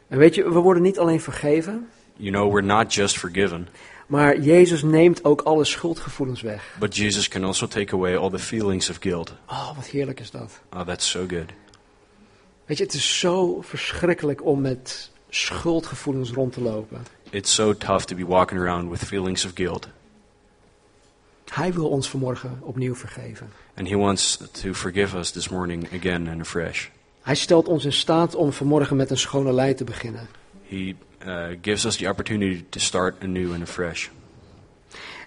S1: En weet je, we worden niet alleen vergeven,
S3: You know, we're not just forgiven,
S1: maar Jezus neemt ook alle schuldgevoelens weg.
S3: but Jesus can also take away all the feelings of guilt.
S1: Oh, wat heerlijk is dat.
S3: Oh, that's so good.
S1: Weet je, het is zo verschrikkelijk om met schuldgevoelens rond te lopen.
S3: It's so tough to be walking around with feelings of guilt,
S1: Hij wil ons vanmorgen opnieuw vergeven.
S3: and He wants to forgive us this morning again and afresh.
S1: Hij stelt ons in staat om vanmorgen met een schone lei te beginnen.
S3: He uh, gives us the opportunity to start anew and afresh.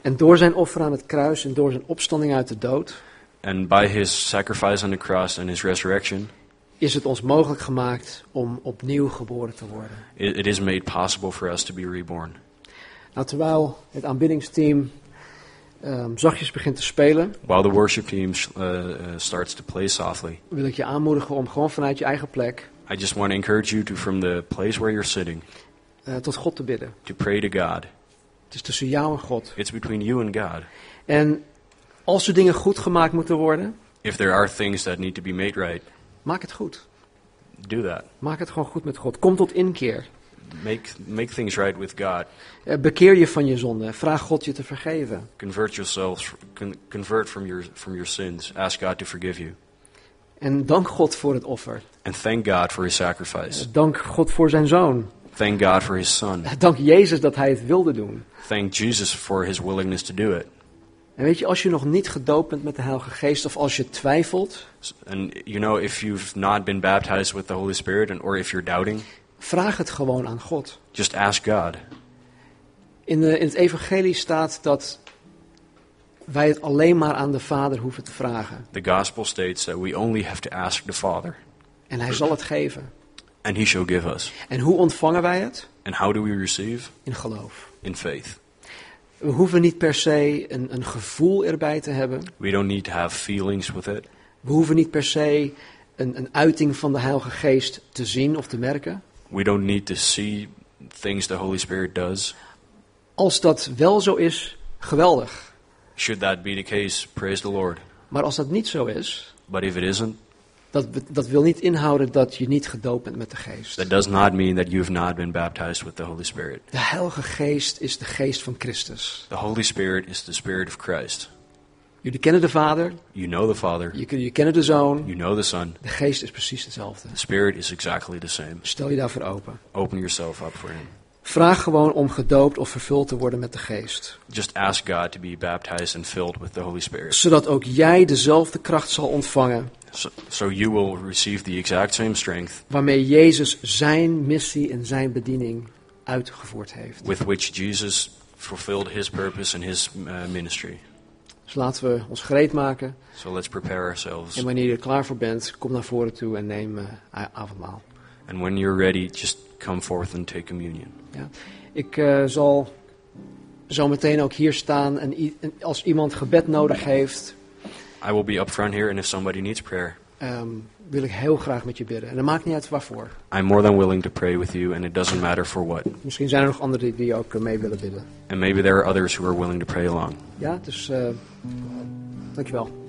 S1: En door zijn offer aan het kruis en door zijn opstanding uit de dood
S3: And by His sacrifice on the cross and His resurrection,
S1: is het ons mogelijk gemaakt om opnieuw geboren te worden.
S3: it, it is made possible for us to be reborn.
S1: Nou, terwijl het aanbiddingsteam ehm, zachtjes begint te spelen,
S3: While the worship team uh, uh, starts to play softly,
S1: wil ik je aanmoedigen om gewoon vanuit je eigen plek
S3: I just want to encourage you to, from the place where you're sitting,
S1: eh, tot God te bidden.
S3: to pray to God.
S1: Het is tussen jou en God.
S3: It's between you and God.
S1: En als er dingen goed gemaakt moeten worden,
S3: If there are things that need to be made right,
S1: Maak het goed.
S3: do that.
S1: Maak het gewoon goed met God. Kom tot inkeer.
S3: Make make things right with God.
S1: Eh, Bekeer je van je zonde. Vraag God je te vergeven.
S3: Convert yourselves. Con- convert from your from your sins. Ask God to forgive you,
S1: En dank God voor het offer.
S3: and thank God for His sacrifice.
S1: Dank God voor zijn zoon. [laughs]
S3: Thank God for His Son.
S1: Dank Jezus dat hij het wilde doen.
S3: Thank Jesus for His willingness to do it.
S1: En weet je, als je nog niet gedoopt bent met de Heilige Geest of als je twijfelt,
S3: S- And you know, if you've not been baptized with the Holy Spirit, and or if you're doubting,
S1: vraag het gewoon aan God.
S3: just ask God.
S1: In, de, in het Evangelie staat dat wij het alleen maar aan de Vader hoeven te vragen.
S3: The gospel states that we only have to ask the Father,
S1: En hij zal het geven.
S3: and He shall give us.
S1: En hoe ontvangen wij het?
S3: And how do we receive?
S1: In geloof.
S3: In faith.
S1: We hoeven niet per se een, een gevoel erbij te hebben.
S3: We don't need to have feelings with it.
S1: We hoeven niet per se een, een uiting van de Heilige Geest te zien of te merken.
S3: We don't need to see things the Holy Spirit does?
S1: Als dat wel zo is, geweldig.
S3: Should that be the case, praise the Lord.
S1: Maar als dat niet zo is,
S3: But if it isn't,
S1: dat, be- dat wil niet inhouden dat je niet gedoopt bent met de geest.
S3: that does not mean that you have not been baptized with the Holy Spirit.
S1: De Heilige Geest is de geest van Christus.
S3: The Holy Spirit is the Spirit of Christ.
S1: Jullie kennen de Vader,
S3: You know the Father,
S1: je, jullie kennen de Zoon.
S3: you know the Son.
S1: De geest is precies hetzelfde.
S3: The Spirit is exactly the same.
S1: Stel je daarvoor open.
S3: Open yourself up for Him.
S1: Vraag gewoon om gedoopt of vervuld te worden met de geest.
S3: Just ask God to be baptized and filled with the Holy Spirit.
S1: Zodat ook jij dezelfde kracht zal ontvangen
S3: So, so you will receive the exact same strength
S1: waarmee Jezus zijn missie en zijn bediening uitgevoerd heeft.
S3: with which Jesus fulfilled His purpose and His uh, ministry.
S1: Dus laten we ons gereed maken.
S3: So let's prepare ourselves.
S1: En wanneer je er klaar voor bent, kom naar voren toe en neem eh, a- avondmaal.
S3: And when you're ready, just come forth and take communion.
S1: Ja. Ik eh, zal zo meteen ook hier staan en, i- en als iemand gebed nodig heeft,
S3: I will be up front here, and if somebody needs prayer,
S1: ehm, wil ik heel graag met je bidden. En dat maakt niet uit waarvoor.
S3: I'm more than willing to pray with you, and it doesn't matter for what.
S1: Misschien zijn er nog anderen die, die ook eh, mee willen bidden.
S3: And maybe there are others who are willing to pray along.
S1: Ja, dus eh dankjewel.